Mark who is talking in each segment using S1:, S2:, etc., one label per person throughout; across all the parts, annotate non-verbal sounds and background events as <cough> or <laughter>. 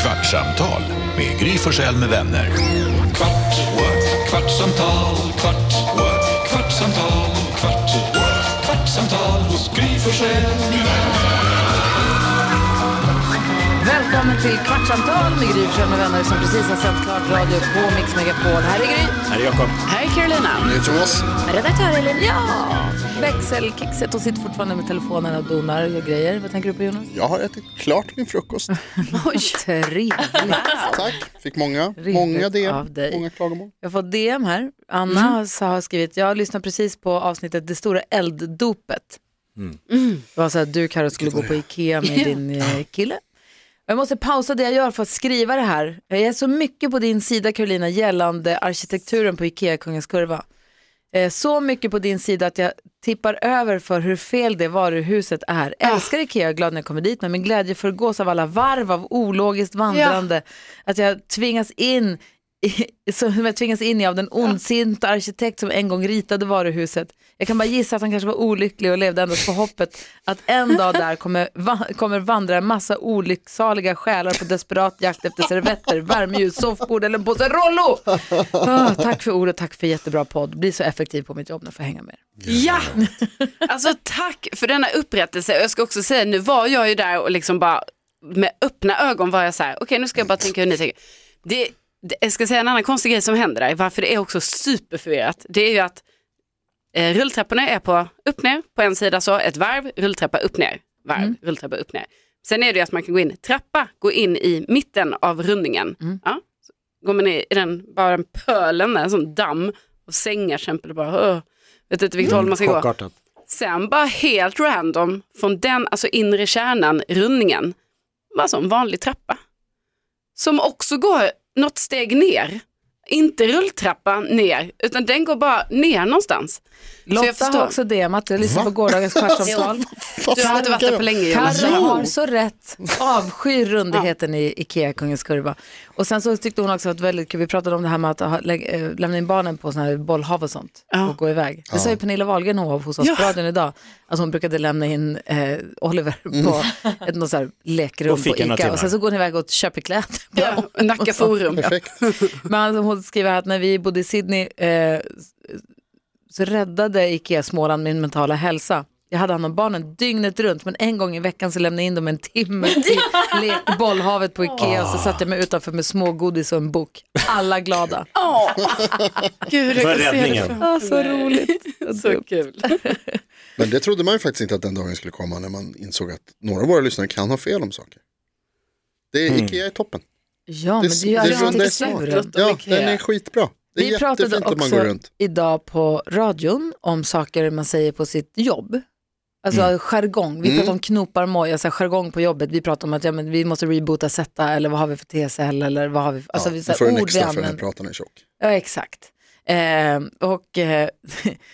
S1: Kvartsamtal med Gry Forssell med vänner. Kvart, what? kvartsamtal, kvart, what? kvartsamtal, kvart, what? kvartsamtal hos Gry Forssell med vänner.
S2: Välkommen till Kvartsamtal med Gry Forssell med vänner som precis har sänt klart radio på Mix Megapol. Här är Gry.
S3: Här är Jakob.
S2: Här är Carolina.
S3: Thomas.
S2: Redaktör Elin. Ja! Växelkexet. Hon sitter fortfarande med telefonen och donar och gör grejer. Vad tänker du på Jonas?
S4: Jag har ätit klart min frukost.
S2: Oj. Trevligt.
S4: Tack. Fick många,
S2: Rivit
S4: många
S2: av
S4: DM,
S2: dig.
S4: många klagomål.
S2: Jag får DM här. Anna har- sa- har skrivit, jag lyssnade precis på avsnittet Det stora elddopet. Det var så att du Karo skulle gå på Ikea med din eh, kille. Jag måste pausa det jag gör för att skriva det här. Jag är så mycket på din sida Carolina gällande arkitekturen på Ikea Kungens Kurva. Eh, Så mycket på din sida att jag tippar över för hur fel det varuhuset är. Älskar Ikea, glad när jag kommer dit, men min glädje förgås av alla varv av ologiskt vandrande. Att jag tvingas in i- <laughs> som jag tvingas in i av den ondsinta arkitekt som en gång ritade varuhuset. Jag kan bara gissa att han kanske var olycklig och levde endast på hoppet att en dag där kommer, va- kommer vandra en massa olycksaliga själar på desperat jakt efter servetter, värmeljus, soffbord eller en påse Rollo. <laughs> Ah, tack för ord och tack för jättebra podd. Blir så effektiv på mitt jobb när jag får hänga med er.
S5: Ja, alltså tack för denna upprättelse. Och Jag ska också säga, nu var jag ju där och liksom bara med öppna ögon var jag så här, okej nu ska jag bara tänka hur ni tänker. Det, det, jag ska säga en annan konstig grej som händer där, varför det är också superförvirrat. Det är ju att eh, rulltrapporna är på upp ner, på en sida så, ett varv, rulltrappa upp ner, varv, rulltrappa upp ner. Sen är det ju att man kan gå in, trappa, gå in i mitten av rundningen. Ja, så går man i, i den, bara den pölen där, en sån damm och sängar till exempel, och bara, "Åh, vet inte vilket håll man ska gå.
S3: Chockartat.
S5: Sen bara helt random från den, alltså inre kärnan, rundningen, bara som en vanlig trappa. Som också går något steg ner. Inte rulltrappa ner, utan den går bara ner någonstans. så jag
S2: Lotta har
S5: förstår.
S2: också DMat, jag lyssnade på
S4: Va?
S2: gårdagens
S5: <laughs>
S2: kvartsamtal.
S4: Vad
S5: Du har inte varit
S4: snackar
S5: där på
S4: de?
S5: länge Jonas.
S2: Carro har så rätt. Avskyr rundigheten i Ikea Kungens Kurva. Och sen så tyckte hon också att väldigt kul, vi pratade om det här med att ha, lä- eh, lämna in barnen på sådana här bollhav och sånt
S5: Ja.
S2: och gå iväg. Det sa ju Pernilla Wahlgren hon var hos oss
S5: Ja.
S2: på radion idag, att hon brukade lämna in eh, Oliver på
S5: Mm.
S2: ett något så här lekrum
S3: Och fick
S2: på
S3: några
S2: Ikea och sen
S3: timmar.
S2: så går hon iväg <laughs> och köper kläder.
S5: Ja, Nacka forum.
S4: Perfekt.
S2: Men han- hon skriver här att när vi bodde i Sydney eh, så räddade Ikea Småland min mentala hälsa. Jag hade hand om barnen dygnet runt men en gång i veckan så lämnade jag in dem en timme <laughs> i lek- bollhavet på Ikea och så satte jag mig utanför med smågodis och en bok. Alla glada.
S5: Åh, Gud,
S3: För
S5: jag kan se det
S3: räddningen.
S5: framför
S2: <laughs> Ah, så
S5: mig.
S2: roligt.
S5: Så kul.
S4: Men det trodde man ju faktiskt inte att den dagen skulle komma när man insåg att några av våra lyssnare kan ha fel om saker. Det är Ikea i toppen.
S2: Ja, men det är
S4: det
S2: ju
S4: runda är
S2: arkitekturen.
S5: smart.
S4: Ja,
S5: Ikea.
S4: den är skitbra. Det är
S2: Vi pratade
S4: jättefint att man går
S2: också
S4: runt.
S2: idag på radion om saker man säger på sitt jobb. Alltså
S4: Mm.
S2: jargong, vi pratade om knopar, moj, alltså jargong på jobbet. Vi pratade om att ja, men vi måste reboota sätta eller vad har vi för TSL eller vad har vi för, alltså vi,
S4: ja,
S2: så
S4: nu får du
S2: här,
S4: en
S2: ord vi
S4: extra för den här
S2: använder.
S4: pratan är tjock.
S2: Ja, exakt. Eh, och eh,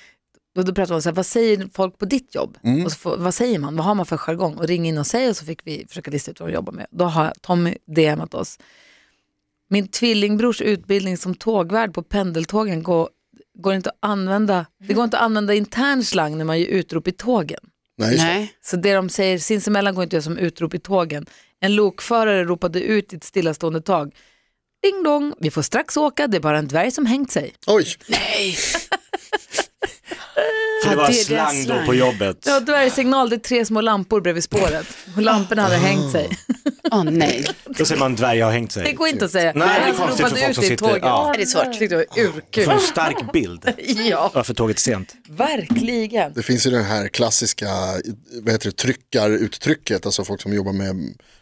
S2: <laughs> och då pratade man så här, vad säger folk på ditt jobb? Och så får, vad säger man? Vad har man för jargong? Och ring in och säg och så fick vi försöka lista ut vad de jobbar med. Då har Tommy DMat oss. Min tvillingbrors utbildning som tågvärd på pendeltågen går, går inte att använda, det går inte att använda intern slang när man gör utrop i tågen.
S4: Nej, just det.
S5: Nej.
S2: Så det de säger sinsemellan går inte att göra som utrop i tågen. En lokförare ropade ut i ett stillastående tag. Ding dong, vi får strax åka, det är bara en dvärg som hängt sig.
S4: Oj,
S3: För
S5: Ja,
S3: det var
S5: det är
S3: slang
S5: deras
S3: då
S5: slang.
S3: på jobbet.
S2: Ja, dvärgsignal, det är tre små lampor bredvid spåret. Och lamporna hade hängt sig.
S5: Åh nej.
S3: Då säger man dvärg har hängt
S2: Det
S3: sig.
S2: går inte att säga.
S3: Nej, det är
S2: Jag
S3: konstigt för
S2: ropade
S3: folk
S2: ut
S3: som
S2: i
S3: sitter-
S2: tåget.
S3: ja.
S5: Det är svårt.
S2: Tyckte det var urkul.
S3: Får en stark bild
S2: Ja,
S3: <laughs> varför tåget är sent.
S2: verkligen.
S4: det finns ju det här klassiska vad heter det, tryckaruttrycket, alltså folk som jobbar med,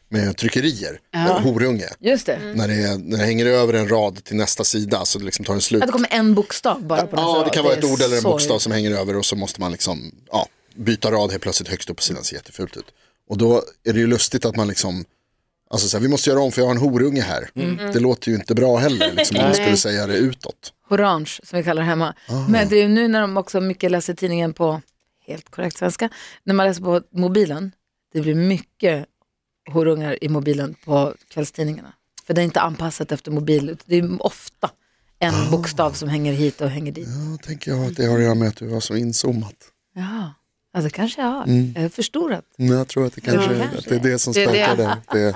S4: med tryckerier, ja. horunge.
S2: Just det.
S4: När, det, är- när det hänger över en rad till nästa sida så det liksom tar en slut.
S2: Att det kommer en bokstav bara på nästa
S4: Ja, det
S2: rad.
S4: kan vara ett
S2: är
S4: ord eller en
S2: så-
S4: bokstav som hänger över och så måste man liksom ja, byta rad helt plötsligt högst upp på sidan, ser jättefult ut. Och då är det ju lustigt att man liksom, alltså så här, vi måste göra om för jag har en horunge här. Det låter ju inte bra heller, liksom, om man skulle säga det utåt.
S2: Orange, som vi kallar det hemma.
S4: Ah.
S2: Men det är ju nu när de också mycket läser tidningen på, helt korrekt svenska, när man läser på mobilen, det blir mycket horungar i mobilen på kvällstidningarna. För det är inte anpassat efter mobil, utan det är ofta
S4: Ah.
S2: en bokstav som hänger hit och hänger dit.
S4: Då tänker jag att det har att göra med att du var så inzoomat.
S2: Ja, alltså
S4: Mm.
S2: kanske jag har. Jag har förstorat.
S4: Men Mm, jag tror att det kanske
S2: kanske
S4: att det är det som
S5: Det är
S4: spökar
S5: det.
S4: där. Det,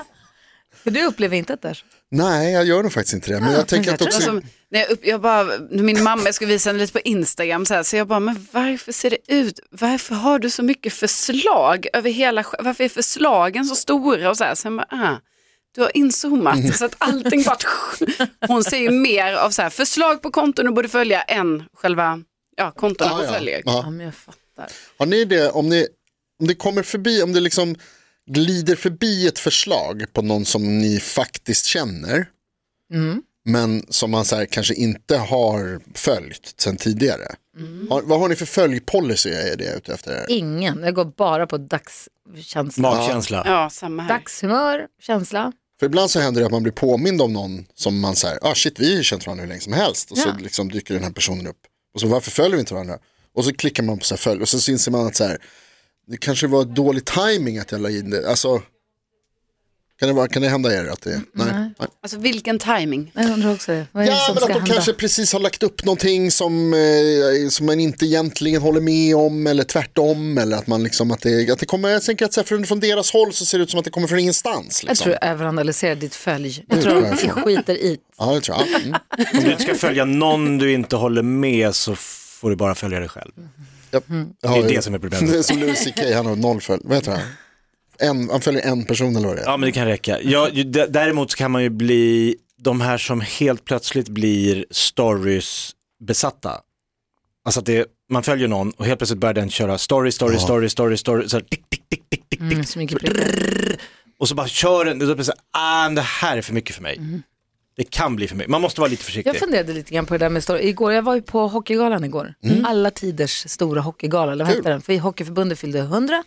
S2: För du upplever inte att det är så.
S4: Nej, jag gör nog faktiskt inte det. Men jag tänker att
S2: jag
S5: Det var
S4: också...
S5: som, Alltså, när jag, upp, jag bara, min mamma, jag skulle visa henne lite på Instagram, så, här, så jag bara, men varför ser det ut, varför har du så mycket förslag över hela, sk- varför är förslagen så stora och så här, så jag bara, ah, du har inzoomat så att allting bara, hon ser ju mer av så här, förslag på konton du borde följa än själva, Ah, ja, kontona
S4: Ja,
S5: hon
S4: ja.
S5: följer.
S4: Ja.
S2: Ja, men jag fattar.
S4: Har ni det, om, ni, om det kommer förbi, om det liksom glider förbi ett förslag på någon som ni faktiskt känner, men som man så här, kanske inte har följt sen tidigare. Har, vad har ni för följpolicy är det ute efter? Här?
S2: Ingen, jag går bara på dagskänsla.
S3: Magkänsla.
S5: Ja, samma här.
S2: Dagshumör, känsla.
S4: För ibland så händer det att man blir påmind om någon som man säger, ah shit vi har ju känt varandra hur länge som helst och så
S2: Ja.
S4: liksom dyker den här personen upp. Och så varför följer vi inte varandra? Och så klickar man på så här följ och så inser man att så här, det kanske var dålig timing att jag la in det. Alltså, kan det, vara, kan det hända er att det nej. nej.
S5: Alltså vilken timing.
S2: Jag undrar också det. Vad Mm, är det
S4: Ja
S2: som
S4: men att
S2: ska
S4: de
S2: hända?
S4: kanske precis har lagt upp någonting som, eh, som man inte egentligen håller med om eller tvärtom eller att man liksom att det, att det kommer, jag tänker att så här, från, från deras håll så ser det ut som att det kommer från ingenstans.
S2: Jag
S4: Liksom.
S2: tror du överanalyserar ditt följ.
S4: Mm.
S2: Jag tror att de skiter i.
S4: Ja, det tror jag. Ja, Mm.
S3: Om du inte ska följa någon du inte håller med så får du bara följa dig själv.
S4: Japp. Jag har
S3: Det är
S4: ju-
S3: det som är problemet.
S4: <laughs> Det är som Louis CK, han har noll följ. Vad heter han? En, han följer en person eller vad det är.
S3: Ja men det kan räcka. Ja, ju- d- däremot så kan man ju bli de här som helt plötsligt blir stories besatta. Alltså att det, man följer någon och helt plötsligt börjar den köra story, story, story, story, story. Så här, tick, tick, tick, tick, tick, tick.
S2: Mm, så mycket prickar.
S3: Och så bara kör den, och då blir det så här, ah, men det här är för mycket för mig. Det kan bli för mycket, man måste vara lite försiktig.
S2: Jag funderade lite grann på det där med story. Igår, jag var ju på Hockeygalan igår.
S4: Mm.
S2: Alla tiders stora hockeygala, eller vad hette den? För Hockeyförbundet fyllde 100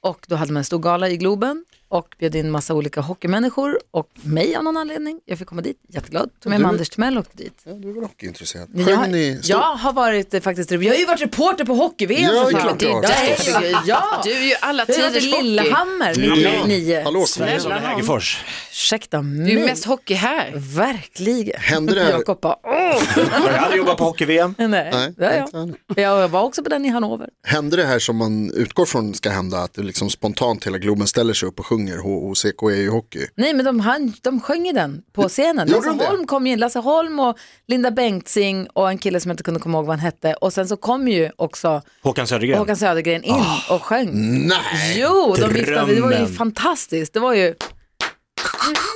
S2: och då hade man en stor gala i Globen och bjöd in massa olika hockeymänniskor och mig av någon anledning. Jag fick komma dit, jätteglad. Tog med mig Anders Timell och åkte dit.
S4: Ja, du är väl hockeyintresserad?
S2: Jag,
S4: Sjöng ni? stort?
S2: jag har varit eh, faktiskt, jag har ju varit reporter på hockey-VM
S4: Ja,
S2: för
S4: det är
S2: fan.
S4: klart du har.
S2: Ja, herregud, ja.
S5: Du är ju alla
S2: Jag har varit i
S5: tiders hockey.
S2: Lillehammer
S4: Ja.
S2: 99.
S4: Hallå,
S3: Sverige som en
S5: Snälla nån.
S3: Hägerfors.
S2: Ursäkta
S5: Du är ju
S2: mig.
S5: mest hockey här.
S2: Verkligen.
S4: Hände det här-
S2: Jakob bara, åh!
S3: Jag hade jobbat på hockey-VM.
S2: Nej,
S4: Nej,
S2: ja,
S4: inte
S2: ja.
S4: än.
S2: Jag var också på den i Hannover.
S4: Händer det här som man utgår från ska hända? Att det liksom spontant hela Globen ställer sig upp och sjunger HOCK är ju hockey?
S2: Nej, men de, han, de sjöng ju den på scenen.
S4: Gjorde
S2: Lasse
S4: de det?
S2: Holm kom ju in, Lasse Holm och Linda Bengtzing och en kille som jag inte kunde komma ihåg vad han hette. Och sen så kom ju också
S3: Håkan Södergren.
S2: Håkan Södergren in och sjöng.
S4: Ah, Nej!
S2: Jo, de viftade, det var ju
S3: drömmen.
S2: fantastiskt. Det var ju...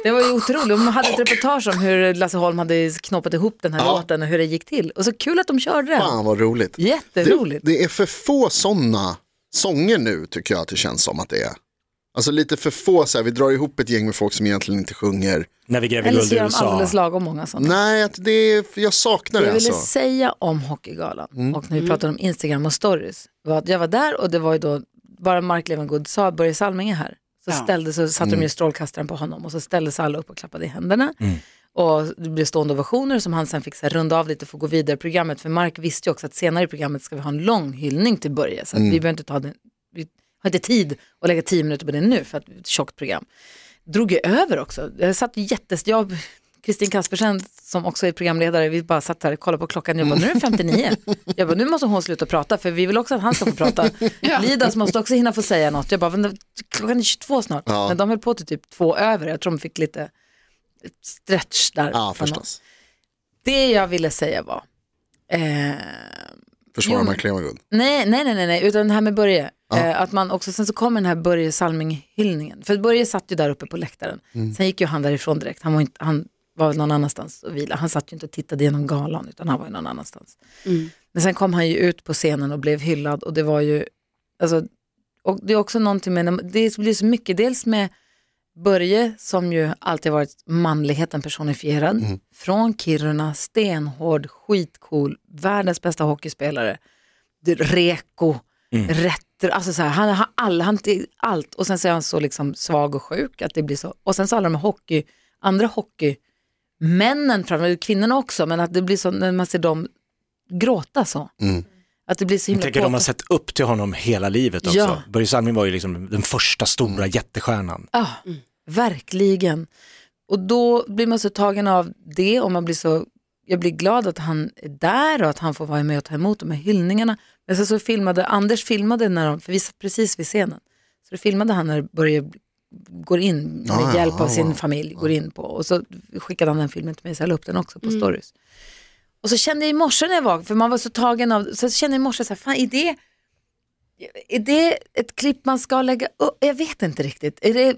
S2: Det var ju otroligt. De hade ett reportage om hur Lasse Holm hade knoppat ihop den här
S4: Ja.
S2: låten och hur det gick till. Och så kul att de körde den.
S4: Fan vad roligt.
S2: Jätteroligt.
S4: Det, det är för få sådana sånger nu tycker jag att det känns som att det är. Alltså lite för få, så här, vi drar ihop ett gäng med folk som egentligen inte sjunger.
S3: När vi gräver
S2: Eller
S3: guld
S2: så
S3: i
S2: gör de
S3: USA.
S2: alldeles lagom många sådana.
S4: Nej, att det är, jag saknar
S2: Det
S4: det
S2: jag ville
S4: alltså.
S2: säga om Hockeygalan och när vi pratade om Instagram och stories var att jag var där och det var ju då bara Mark Levengood sa Börje Salminge här. Så,
S5: Ja.
S2: ställde, så satte de ju strålkastaren på honom och så ställde sig alla upp och klappade i händerna. Och det blev stående ovationer som han sen fick så här, runda av lite och få gå vidare i programmet. För Mark visste ju också att senare i programmet ska vi ha en lång hyllning till Börje. Så att vi behöver inte ta den, vi har inte tid att lägga tio minuter på det nu för att det är ett tjockt program drog ju över också. Jag satt jättes... Jag, Kristin Kaspersen som också är programledare, vi bara satt här och kollade på klockan. Jag bara, nu är det 59. Jag bara, nu måste hon sluta prata för vi vill också att han ska få prata. Lidas måste också hinna få säga något. Jag bara, "Men klockan är 22 snart. Men de höll på till typ två över. Jag tror de fick lite stretch där.
S4: Ja,
S2: från
S4: förstås.
S2: oss. Det jag ville säga var, eh,
S4: Försvara
S2: Jo,
S4: Mark Levengood.
S2: Nej, nej, nej, nej, nej, utan det här med Börje. Eh, att man också, sen så kom den här Börje Salming-hyllningen. För Börje satt ju där uppe på läktaren. Sen gick ju han därifrån direkt. Han var, inte, han var väl någon annanstans och vila. Han satt ju inte och tittade genom galan, utan han var ju någon annanstans. Men sen kom han ju ut på scenen och blev hyllad och det var ju, alltså, och det är också någonting med, när man- det blir så mycket, dels med Börje som ju alltid varit manligheten personifierad,
S3: Mm.
S2: från Kiruna, stenhård, skitcool, världens bästa hockeyspelare reko,
S3: Mm.
S2: rätter, alltså så här, han har all, han till allt och sen så är han så liksom svag och sjuk att det blir så. Och sen så alla de här hockey, andra hockeymännen framför, kvinnorna också, men att det blir så när man ser dem gråta så. Att det blir så
S3: Jag
S2: himla
S3: Mm. tänker de har
S2: påpass-
S3: sett upp till honom hela livet också.
S2: Ja.
S3: Börje Salming var ju liksom den första stora jättestjärnan.
S2: Ja, verkligen. Och då blir man så tagen av det och man blir så, jag blir glad att han är där och att han får vara med och ta emot de här hyllningarna. Men sen så filmade, Anders filmade när de, för vi satt precis vid scenen, så då filmade han när Börje går in med
S4: Ah, ja,
S2: hjälp av
S4: ah,
S2: sin
S4: wow.
S2: familj, går in på. Och så skickade han den filmen till mig, så jag la upp den också på stories. Och så kände jag i morse när jag var, för man var så tagen av, så kände jag i morse så här, fan är det, är det ett klipp man ska lägga upp? Jag vet inte riktigt. Är det,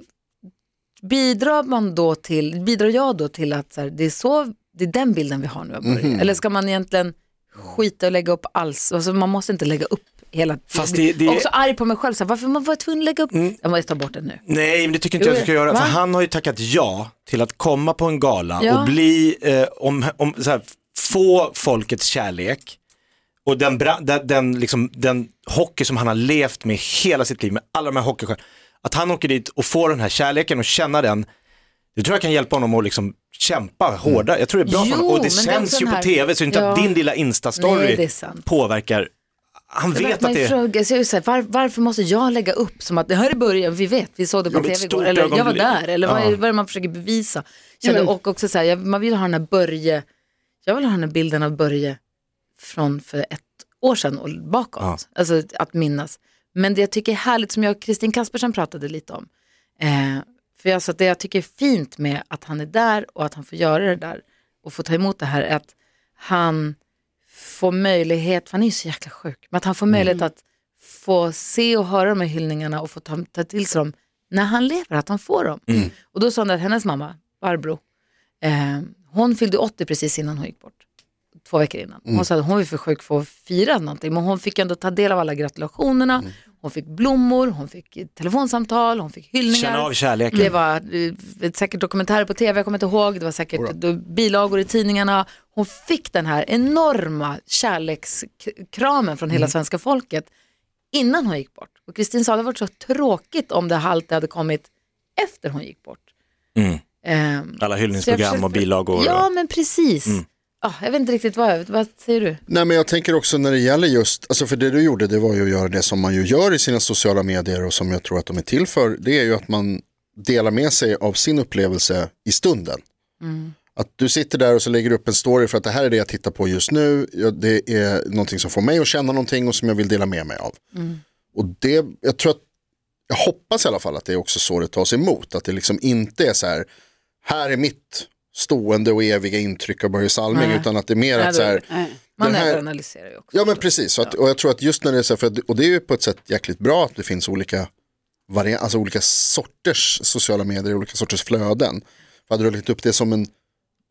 S2: bidrar man då till, bidrar jag då till att så här, det är så, det är den bilden vi har nu av Börje?
S3: Mhm.
S2: Eller ska man egentligen skita och lägga upp alls, alltså man måste inte lägga upp hela
S3: Fast det- det- Mm.
S2: Jag är också arg på mig själv, så här, varför man var tvungen att lägga upp, jag måste ta bort den nu.
S3: Nej, men det tycker inte
S2: Jo,
S3: jag du ska göra.
S2: va?
S3: För han har ju tackat ja till att komma på en gala
S2: Ja.
S3: och bli, eh, om, om, så här, få folkets kärlek. Och den, bra, den, den, liksom, den hockey som han har levt med hela sitt liv, med alla de här hockeystjärnorna. Att han åker dit och får den här kärleken och känna den, det tror jag kan hjälpa honom att liksom kämpa hårdare. Jag tror det är bra
S2: Jo,
S3: för honom. Och det
S2: men det är
S3: sänds
S2: också
S3: ju
S2: den
S3: på
S2: här-
S3: tv, så inte att
S2: Ja.
S3: din lilla
S2: Nej, det är
S3: instastory
S2: sant.
S3: påverkar. Han
S2: Men
S3: vet
S2: man
S3: att det är...
S2: frågar sig ju så här, var, varför måste jag lägga upp som att det här är början, vi vet, vi såg det på
S3: Ja, men ett
S2: tv
S3: stort
S2: igår, eller jag var
S3: ögonblick.
S2: där, eller vad,
S3: Ja.
S2: är, vad är det man försöker bevisa? Kände, Och också så här, jag, man vill ha den här Börje, jag vill ha den här bilden av Börje från för ett år sedan och bakåt, alltså att minnas. Men det jag tycker är härligt, som jag och Kristin Kaspersen pratade lite om, eh, för alltså, det jag tycker är fint med att han är där och att han får göra det där och få ta emot det här är att han får möjlighet, för han är ju så jäkla sjuk, men att han får möjlighet att få se och höra de här hyllningarna och få ta, ta till sig dem när han lever, att han får dem. Och då sa han att hennes mamma, Barbro, eh, hon fyllde 80 precis innan hon gick bort. Två veckor innan. Hon sa att hon var för sjuk för att fira någonting, men hon fick ändå ta del av alla gratulationerna. Hon fick blommor, hon fick eh, telefonsamtal, hon fick hyllningar.
S3: Känna av kärleken.
S2: Det var eh, säkert dokumentärer på tv, jag kommer inte ihåg. Det var säkert bilagor i tidningarna. Hon fick den här enorma kärlekskramen från hela svenska folket innan hon gick bort. Och Kristin sa det hade varit så tråkigt om det här alltid hade kommit efter hon gick bort. Ehm,
S3: Alla
S2: så jag
S3: hyllningsprogram
S2: försöker-
S3: och bilagor.
S2: Ja,
S3: och-
S2: men precis. Ah, jag vet inte riktigt vad, jag- vad säger du?
S4: Nej men jag tänker också när det gäller just, alltså för det du gjorde det var ju att göra det som man ju gör i sina sociala medier och som jag tror att de är till för, det är ju att man delar med sig av sin upplevelse i stunden. Att du sitter där och så lägger du upp en story för att det här är det jag tittar på just nu, Ja, det är någonting som får mig att känna någonting och som jag vill dela med mig av. Och det, jag tror att, jag hoppas i alla fall att det är också så det tas emot, att det liksom inte är så här, här är mitt stående och eviga intryck av Börje Salming,
S2: Nej.
S4: utan att det är mer
S2: Nej,
S4: att så här,
S5: Nej.
S2: Man
S4: Det här-
S2: överanalyserar ju också.
S4: Ja men precis, och, att, och jag tror att just när det är så här, för, att- och det är ju på ett sätt jäkligt bra att det finns olika, varia- alltså olika sorters sociala medier, olika sorters flöden. För hade du lagt upp det som en,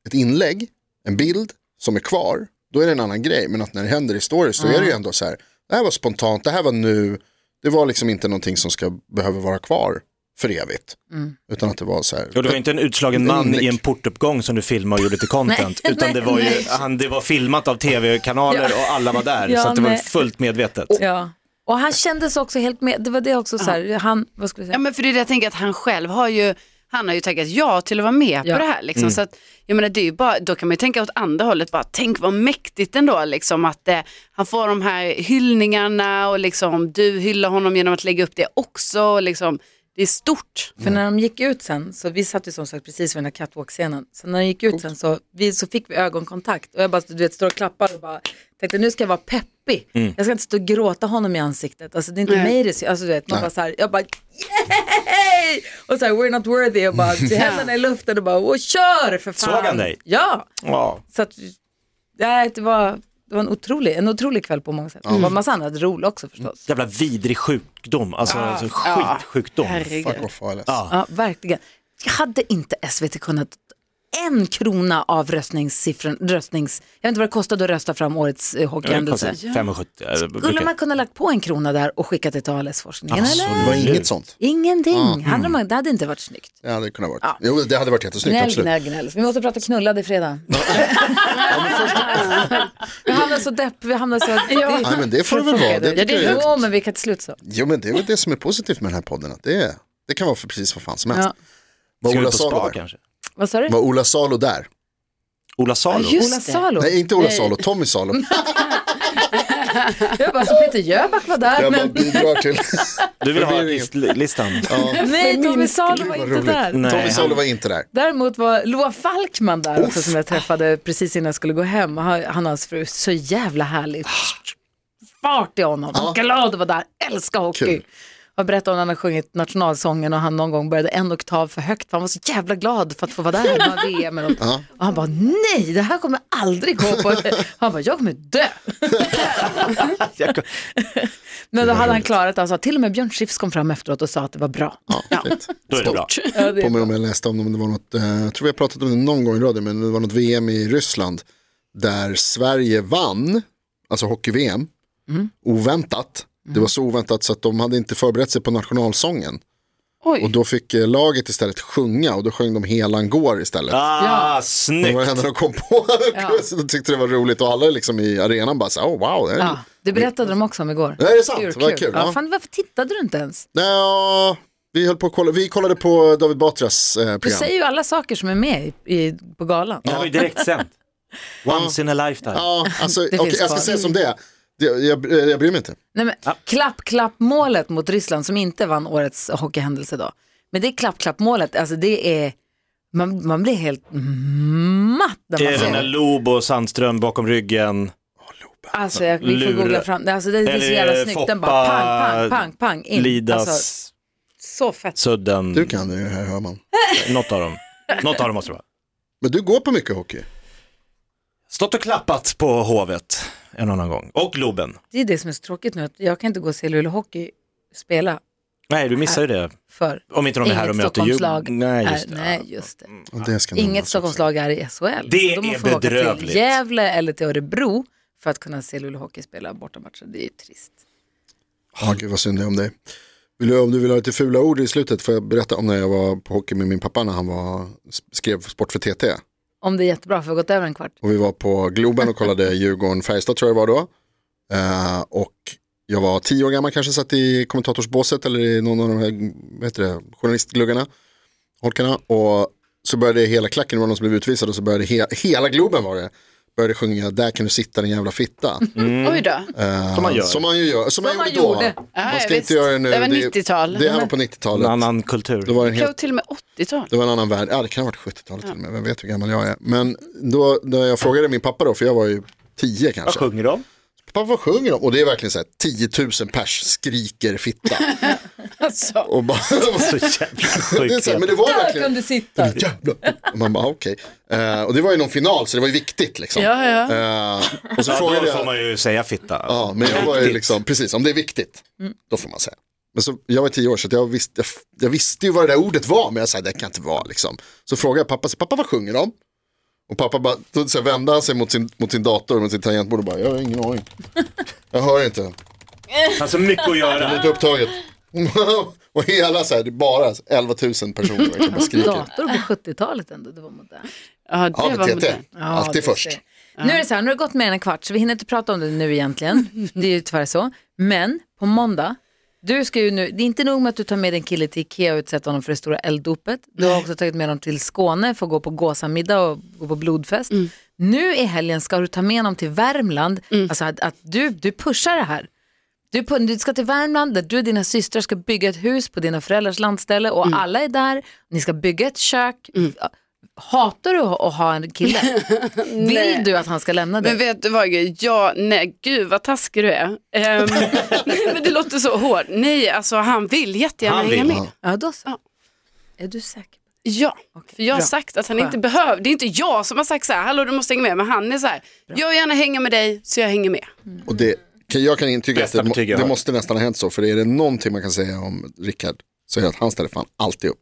S4: ett inlägg, en bild som är kvar, då är det en annan grej. Men att när det händer i stories så
S2: Mm.
S4: är det ju ändå så här, det här var spontant, det här var nu, det var liksom inte någonting som ska behöva vara kvar för evigt.
S2: Mm.
S4: Utan att det var så här,
S3: Och det var inte en utslagen man i en portuppgång som du filmade och gjorde till content,
S2: Nej,
S3: utan det var ju
S2: nej.
S3: han, det var filmat av tv-kanaler och alla var där,
S2: Ja,
S3: så att det var
S2: nej.
S3: fullt medvetet.
S2: Ja. Och han kändes också helt med, det var det också så här, han, vad skulle jag säga?
S5: Ja men för det är det jag tänker att han själv har ju, han har ju tackat ja till att vara med
S2: Ja.
S5: på det här. Liksom. Så att, jag menar, det är ju bara, då kan man ju tänka åt andra hållet, bara, tänk vad mäktigt ändå liksom, att eh, han får de här hyllningarna och liksom, du hyllar honom genom att lägga upp det också. Och, liksom, det är stort.
S2: För när de gick ut sen, så vi satt ju som sagt precis vid den här catwalk-scenen, så när de gick ut sen så, vi, så fick vi ögonkontakt och jag bara du vet, står och klappar och bara tänkte nu ska jag vara peppig,
S3: Mm.
S2: jag ska inte stå och gråta honom i ansiktet, alltså det är inte mig det alltså, du vet, man bara så här, jag bara yay! Och så här we're not worthy och bara till händerna i luften och bara och kör för fan.
S3: Såg han dig?
S2: Ja,
S3: Ja.
S2: så att, nej, det var, det var en otrolig, en otrolig kväll på många sätt. Det var en massa annat roligt också förstås.
S3: Jävla vidrig sjukdom, alltså, alltså skitsjukdom.
S5: Herregud.
S4: fuck off ALS.
S3: Ja.
S2: Ja, verkligen. Jag hade inte SVT kunnat en krona av röstningssiffran, röstnings... Jag vet inte vad det kostade att rösta fram årets eh, hockeyhändelse.
S3: 570. eh,
S2: Skulle
S3: brukar-
S2: man kunna lagt på en krona där och skickat det till ALS-forskningen eller?
S4: Det var inget sånt,
S2: Ingenting.
S4: Mm.
S2: Hade man, det hade inte varit snyggt.
S4: det hade kunnat vara. Jo det hade varit jättesnyggt,
S2: Gnäll,
S4: Typ, absolut.
S2: gnäll, gnäll. Vi måste prata knullade fredag. <laughs> vi hamnar så depp, vi hamnar så...
S4: Nej men det får det väl vara, det
S2: Ja,
S4: tycker jag
S2: det
S4: är
S2: är jo, men vi kan till slut så.
S4: Jo men det är väl det som är positivt med den här podden, att det, är, det kan vara för precis vad fan som helst.
S2: Ja.
S4: Var,
S3: Ska du
S4: Ola
S3: på
S4: Salo
S3: spa
S4: där?
S3: kanske?
S2: Vad sa du?
S4: var Ola Salo där?
S3: Ola Salo?
S2: Ola Salo?
S4: Nej inte Ola Salo, Tommy Salo.
S2: Jag bara, så Peter Jöback var där,
S4: Jag bara
S2: men
S4: bidrar till.
S3: Du vill ha
S4: Förvirringen.
S3: list- listan?
S2: <laughs>
S3: <laughs>
S2: nej, Tommy Salo var
S4: Vad
S2: inte
S4: roligt.
S2: där.
S4: Tommy
S3: Nej.
S4: Salo var inte där.
S2: Däremot var Loa Falkman där också som jag träffade precis innan jag skulle gå hem. Och Han han och hans fru, så jävla härligt. Fart i honom, glad att vara där, älskar hockey.
S4: Kul.
S2: Och och berättade om när han hade sjungit nationalsången och han någon gång började en oktav för högt för han var så jävla glad för att få vara där. Det var VM eller något. Och han bara nej, det här kommer aldrig gå
S4: <laughs>
S2: på. Han bara jag kommer dö. Men då hade han klarat det. Han sa till och med Björn Skifs kom fram efteråt och sa att det var bra.
S4: Ja, fint.
S3: Då är det bra.
S2: Ja, det-
S4: på mig om jag läste om det, men det var något, eh, jag tror vi har pratat om det någon gång i radio, men det var något VM i Ryssland där Sverige vann, alltså hockey-VM, oväntat. Det var så oväntat så att de hade inte förberett sig på nationalsången. Och
S5: Oj,
S4: då fick eh, laget istället sjunga och då sjöng de Helan går istället.
S3: Ah,
S4: Det
S3: snyggt.
S4: var det enda de kom på. <laughs> så de tyckte det var roligt och alla liksom i arenan bara så här, oh, wow. Det är...
S2: Ja, det berättade de också om igår.
S4: Nej, det är sant.
S2: Urkul.
S4: Vad kul,
S2: Ja,
S4: ja.
S2: fan, varför tittade du inte ens?
S4: Nja, vi, höll på att kolla... vi kollade på David Batras eh,
S2: Du
S4: program.
S2: säger ju alla saker som är med i, i, på galan.
S3: Det här var ju direkt sänt. Once in a lifetime.
S4: Ja,
S2: <laughs>
S4: alltså,
S2: finns
S4: okej, jag
S2: kvar.
S4: ska säga som det är. Det- Jag, eh, jag, jag bryr mig inte.
S2: Nej, men, Klapp, klapp målet mot Ryssland som inte vann årets hockeyhändelse då. Men det är klapp, klapp målet, alltså det är, man, man blir helt matt när
S3: Är
S2: man
S3: det
S2: ser
S3: den där
S2: det.
S3: Lobo och Sandström bakom ryggen?
S2: Alltså jag, vi får
S3: Lura.
S2: googla fram, Nej, alltså det, det är så jävla
S3: Eller
S2: snyggt, den bara
S3: Foppa,
S2: pang, pang, pang, pang in.
S3: Lidas,
S2: Alltså, så fett.
S3: Sudden,
S4: Du kan det, här hör man.
S3: något av dem. Något av dem måste det vara.
S4: Men du går på mycket hockey.
S3: Stått och klappat på Hovet en annan gång. Och Globen.
S2: Det är det som är så tråkigt nu, att jag kan inte gå och se Luleå Hockey spela
S3: Nej, du missar ju det.
S2: för
S3: Om inte de är här och
S2: inget
S3: möter Djur-
S2: Stockholmslag
S3: Nej, just
S2: är,
S3: det.
S2: nej, just det.
S4: Och det ska nämnas
S2: Inget
S4: också.
S2: Stockholmslag är i SHL.
S3: Det
S2: så de
S3: är
S2: får åka till
S3: bedrövligt.
S2: Gävle eller till Örebro för att kunna se Luleå Hockey spela bortamatcher. Det är ju trist.
S4: Ja, gud vad synd det är om dig. Vill du, om du vill ha lite fula ord i slutet, får jag berätta om när jag var på hockey med min pappa när han var, skrev sport för TT.
S2: Om det är jättebra, för vi har gått över en kvart.
S4: Och vi var på Globen och kollade Djurgården-Färjestad tror jag det var då. Eh, och jag var tio år gammal kanske, satt i kommentatorsbåset eller i någon av de här vad heter det, journalistgluggarna, holkarna. Och så började hela klacken, det var någon som blev utvisad och så började he- hela Globen var det, började sjunga Där kan du sitta din jävla fitta.
S5: oj då.
S4: Eh,
S3: Som man gör.
S4: Som man ju gör, som, man,
S2: man
S4: gjorde då.
S2: gjorde.
S5: Ja,
S4: man
S5: ja,
S4: ska
S5: visst.
S4: inte göra det nu.
S5: Det var 90-tal.
S4: Det, det här var på
S3: En
S4: 90-talet.
S3: annan kultur.
S4: Då var det en
S5: Kanske
S4: helt
S5: till och med 80-tal.
S4: det var en annan värld, ja det kan ha varit 70-talet till och med, vem vet hur gammal jag är. Men då, när jag frågade min pappa då, för jag var ju 10
S3: Vad
S4: kanske.
S3: sjunger de?
S4: Pappa vad sjunger de? Och det är verkligen så här 10 000 pers skriker
S5: <laughs>
S4: fitta.
S5: Alltså.
S4: Och
S3: <laughs>
S4: bara,
S3: Så jävla
S4: <laughs> det är
S3: sjukt.
S4: så här, men det var
S2: Där kan
S4: verkligen,
S2: du sitta!
S4: jävlar. Och man bara okej. Eh, och det var ju någon final så det var ju viktigt liksom.
S5: Ja, ja.
S4: Eh, och så
S3: Ja,
S4: frågade
S3: då får
S4: jag,
S3: man ju säga fitta.
S4: ja men jag var ju liksom, precis om det är viktigt,
S5: Mm.
S4: då får man säga. Men så, jag var 10 år så att jag, visste, jag visste ju vad det där ordet var men jag sa det kan inte vara liksom. Så frågade jag pappa, så, pappa vad sjunger de? Och pappa bara, då så här vände han sig mot sin, mot sin dator, mot sin tangentbord och bara, jag har ingen aning. Jag hör inte.
S3: Alltså mycket att
S4: Det är
S3: göra.
S4: lite upptaget. <laughs> och hela så här, det är bara 11 000 personer verkligen bara skriker.
S2: Dator på 70-talet ändå, det var modernt.
S5: Ja, det
S4: Ja, men
S5: var
S4: TT,
S5: modernt.
S4: alltid
S2: det är
S4: först.
S2: det. Nu är det så här, nu har det gått mer än en kvart så vi hinner inte prata om det nu egentligen.
S4: <laughs>
S2: Det är ju tyvärr så. Men på måndag, du ska ju nu, det är inte nog med att du tar med en kille till Ikea och utsätter honom för det stora elddopet. Du har också tagit med honom till Skåne för att gå på gåsamiddag och gå på blodfest.
S4: Mm.
S2: Nu i helgen ska du ta med honom till Värmland. Alltså att, att du, du pushar det här. Du, på, du ska till Värmland där du och dina systrar ska bygga ett hus på dina föräldrars landställe och
S5: Mm.
S2: alla är där. Ni ska bygga ett kök. Hatar du att ha en
S5: <laughs>
S2: kille? Vill du att han ska lämna dig?
S5: Men vet du vad, Gry? ja, nej, gud vad taskig du är. Ehm, <laughs> nej, men det låter så hårt. Nej, alltså han vill jättegärna
S3: Han
S5: hänga
S3: vill.
S5: med.
S2: Ja, då så.
S5: Ja.
S2: Är du säker?
S5: Ja, för jag har
S2: bra.
S5: sagt att han inte
S2: Skönt.
S5: behöver, det är inte jag som har sagt så här, hallå du måste hänga med, men han är så här, jag vill gärna hänga med dig så jag hänger med.
S4: Och det, kan- jag kan intyga att
S3: Bästa
S4: det, må-
S3: betyg jag har.
S4: det måste nästan ha hänt så, för är det någonting man kan säga om Rickard så är det att han ställer fan alltid upp.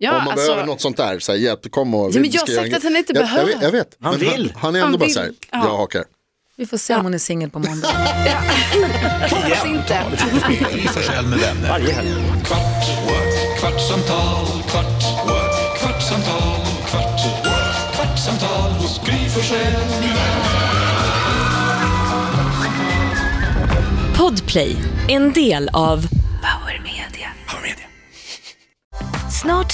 S5: Ja,
S4: om man
S5: alltså,
S4: behöver något sånt där, så här, hjälp, kom och...
S5: Ja, men
S4: vi
S5: jag har
S4: ska göra
S5: sagt
S4: en-
S5: att han inte
S4: jag,
S5: behöver.
S4: Jag vet, jag vet.
S3: Han
S4: Men
S3: vill.
S4: Han, han är ändå
S5: Han
S4: bara
S5: vill.
S4: så här,
S5: Ja.
S4: jag hakar.
S2: Vi får se om hon är singel på måndag.
S5: hoppas inte.
S1: Gry Forssell med vänner.
S3: Varje helg.
S1: Kvart, what? kvartsamtal, kvart, what? kvartsamtal, kvart, what? kvartsamtal hos Gry Forssell med vänner.
S6: Podplay, en del av Power Media.
S7: Snart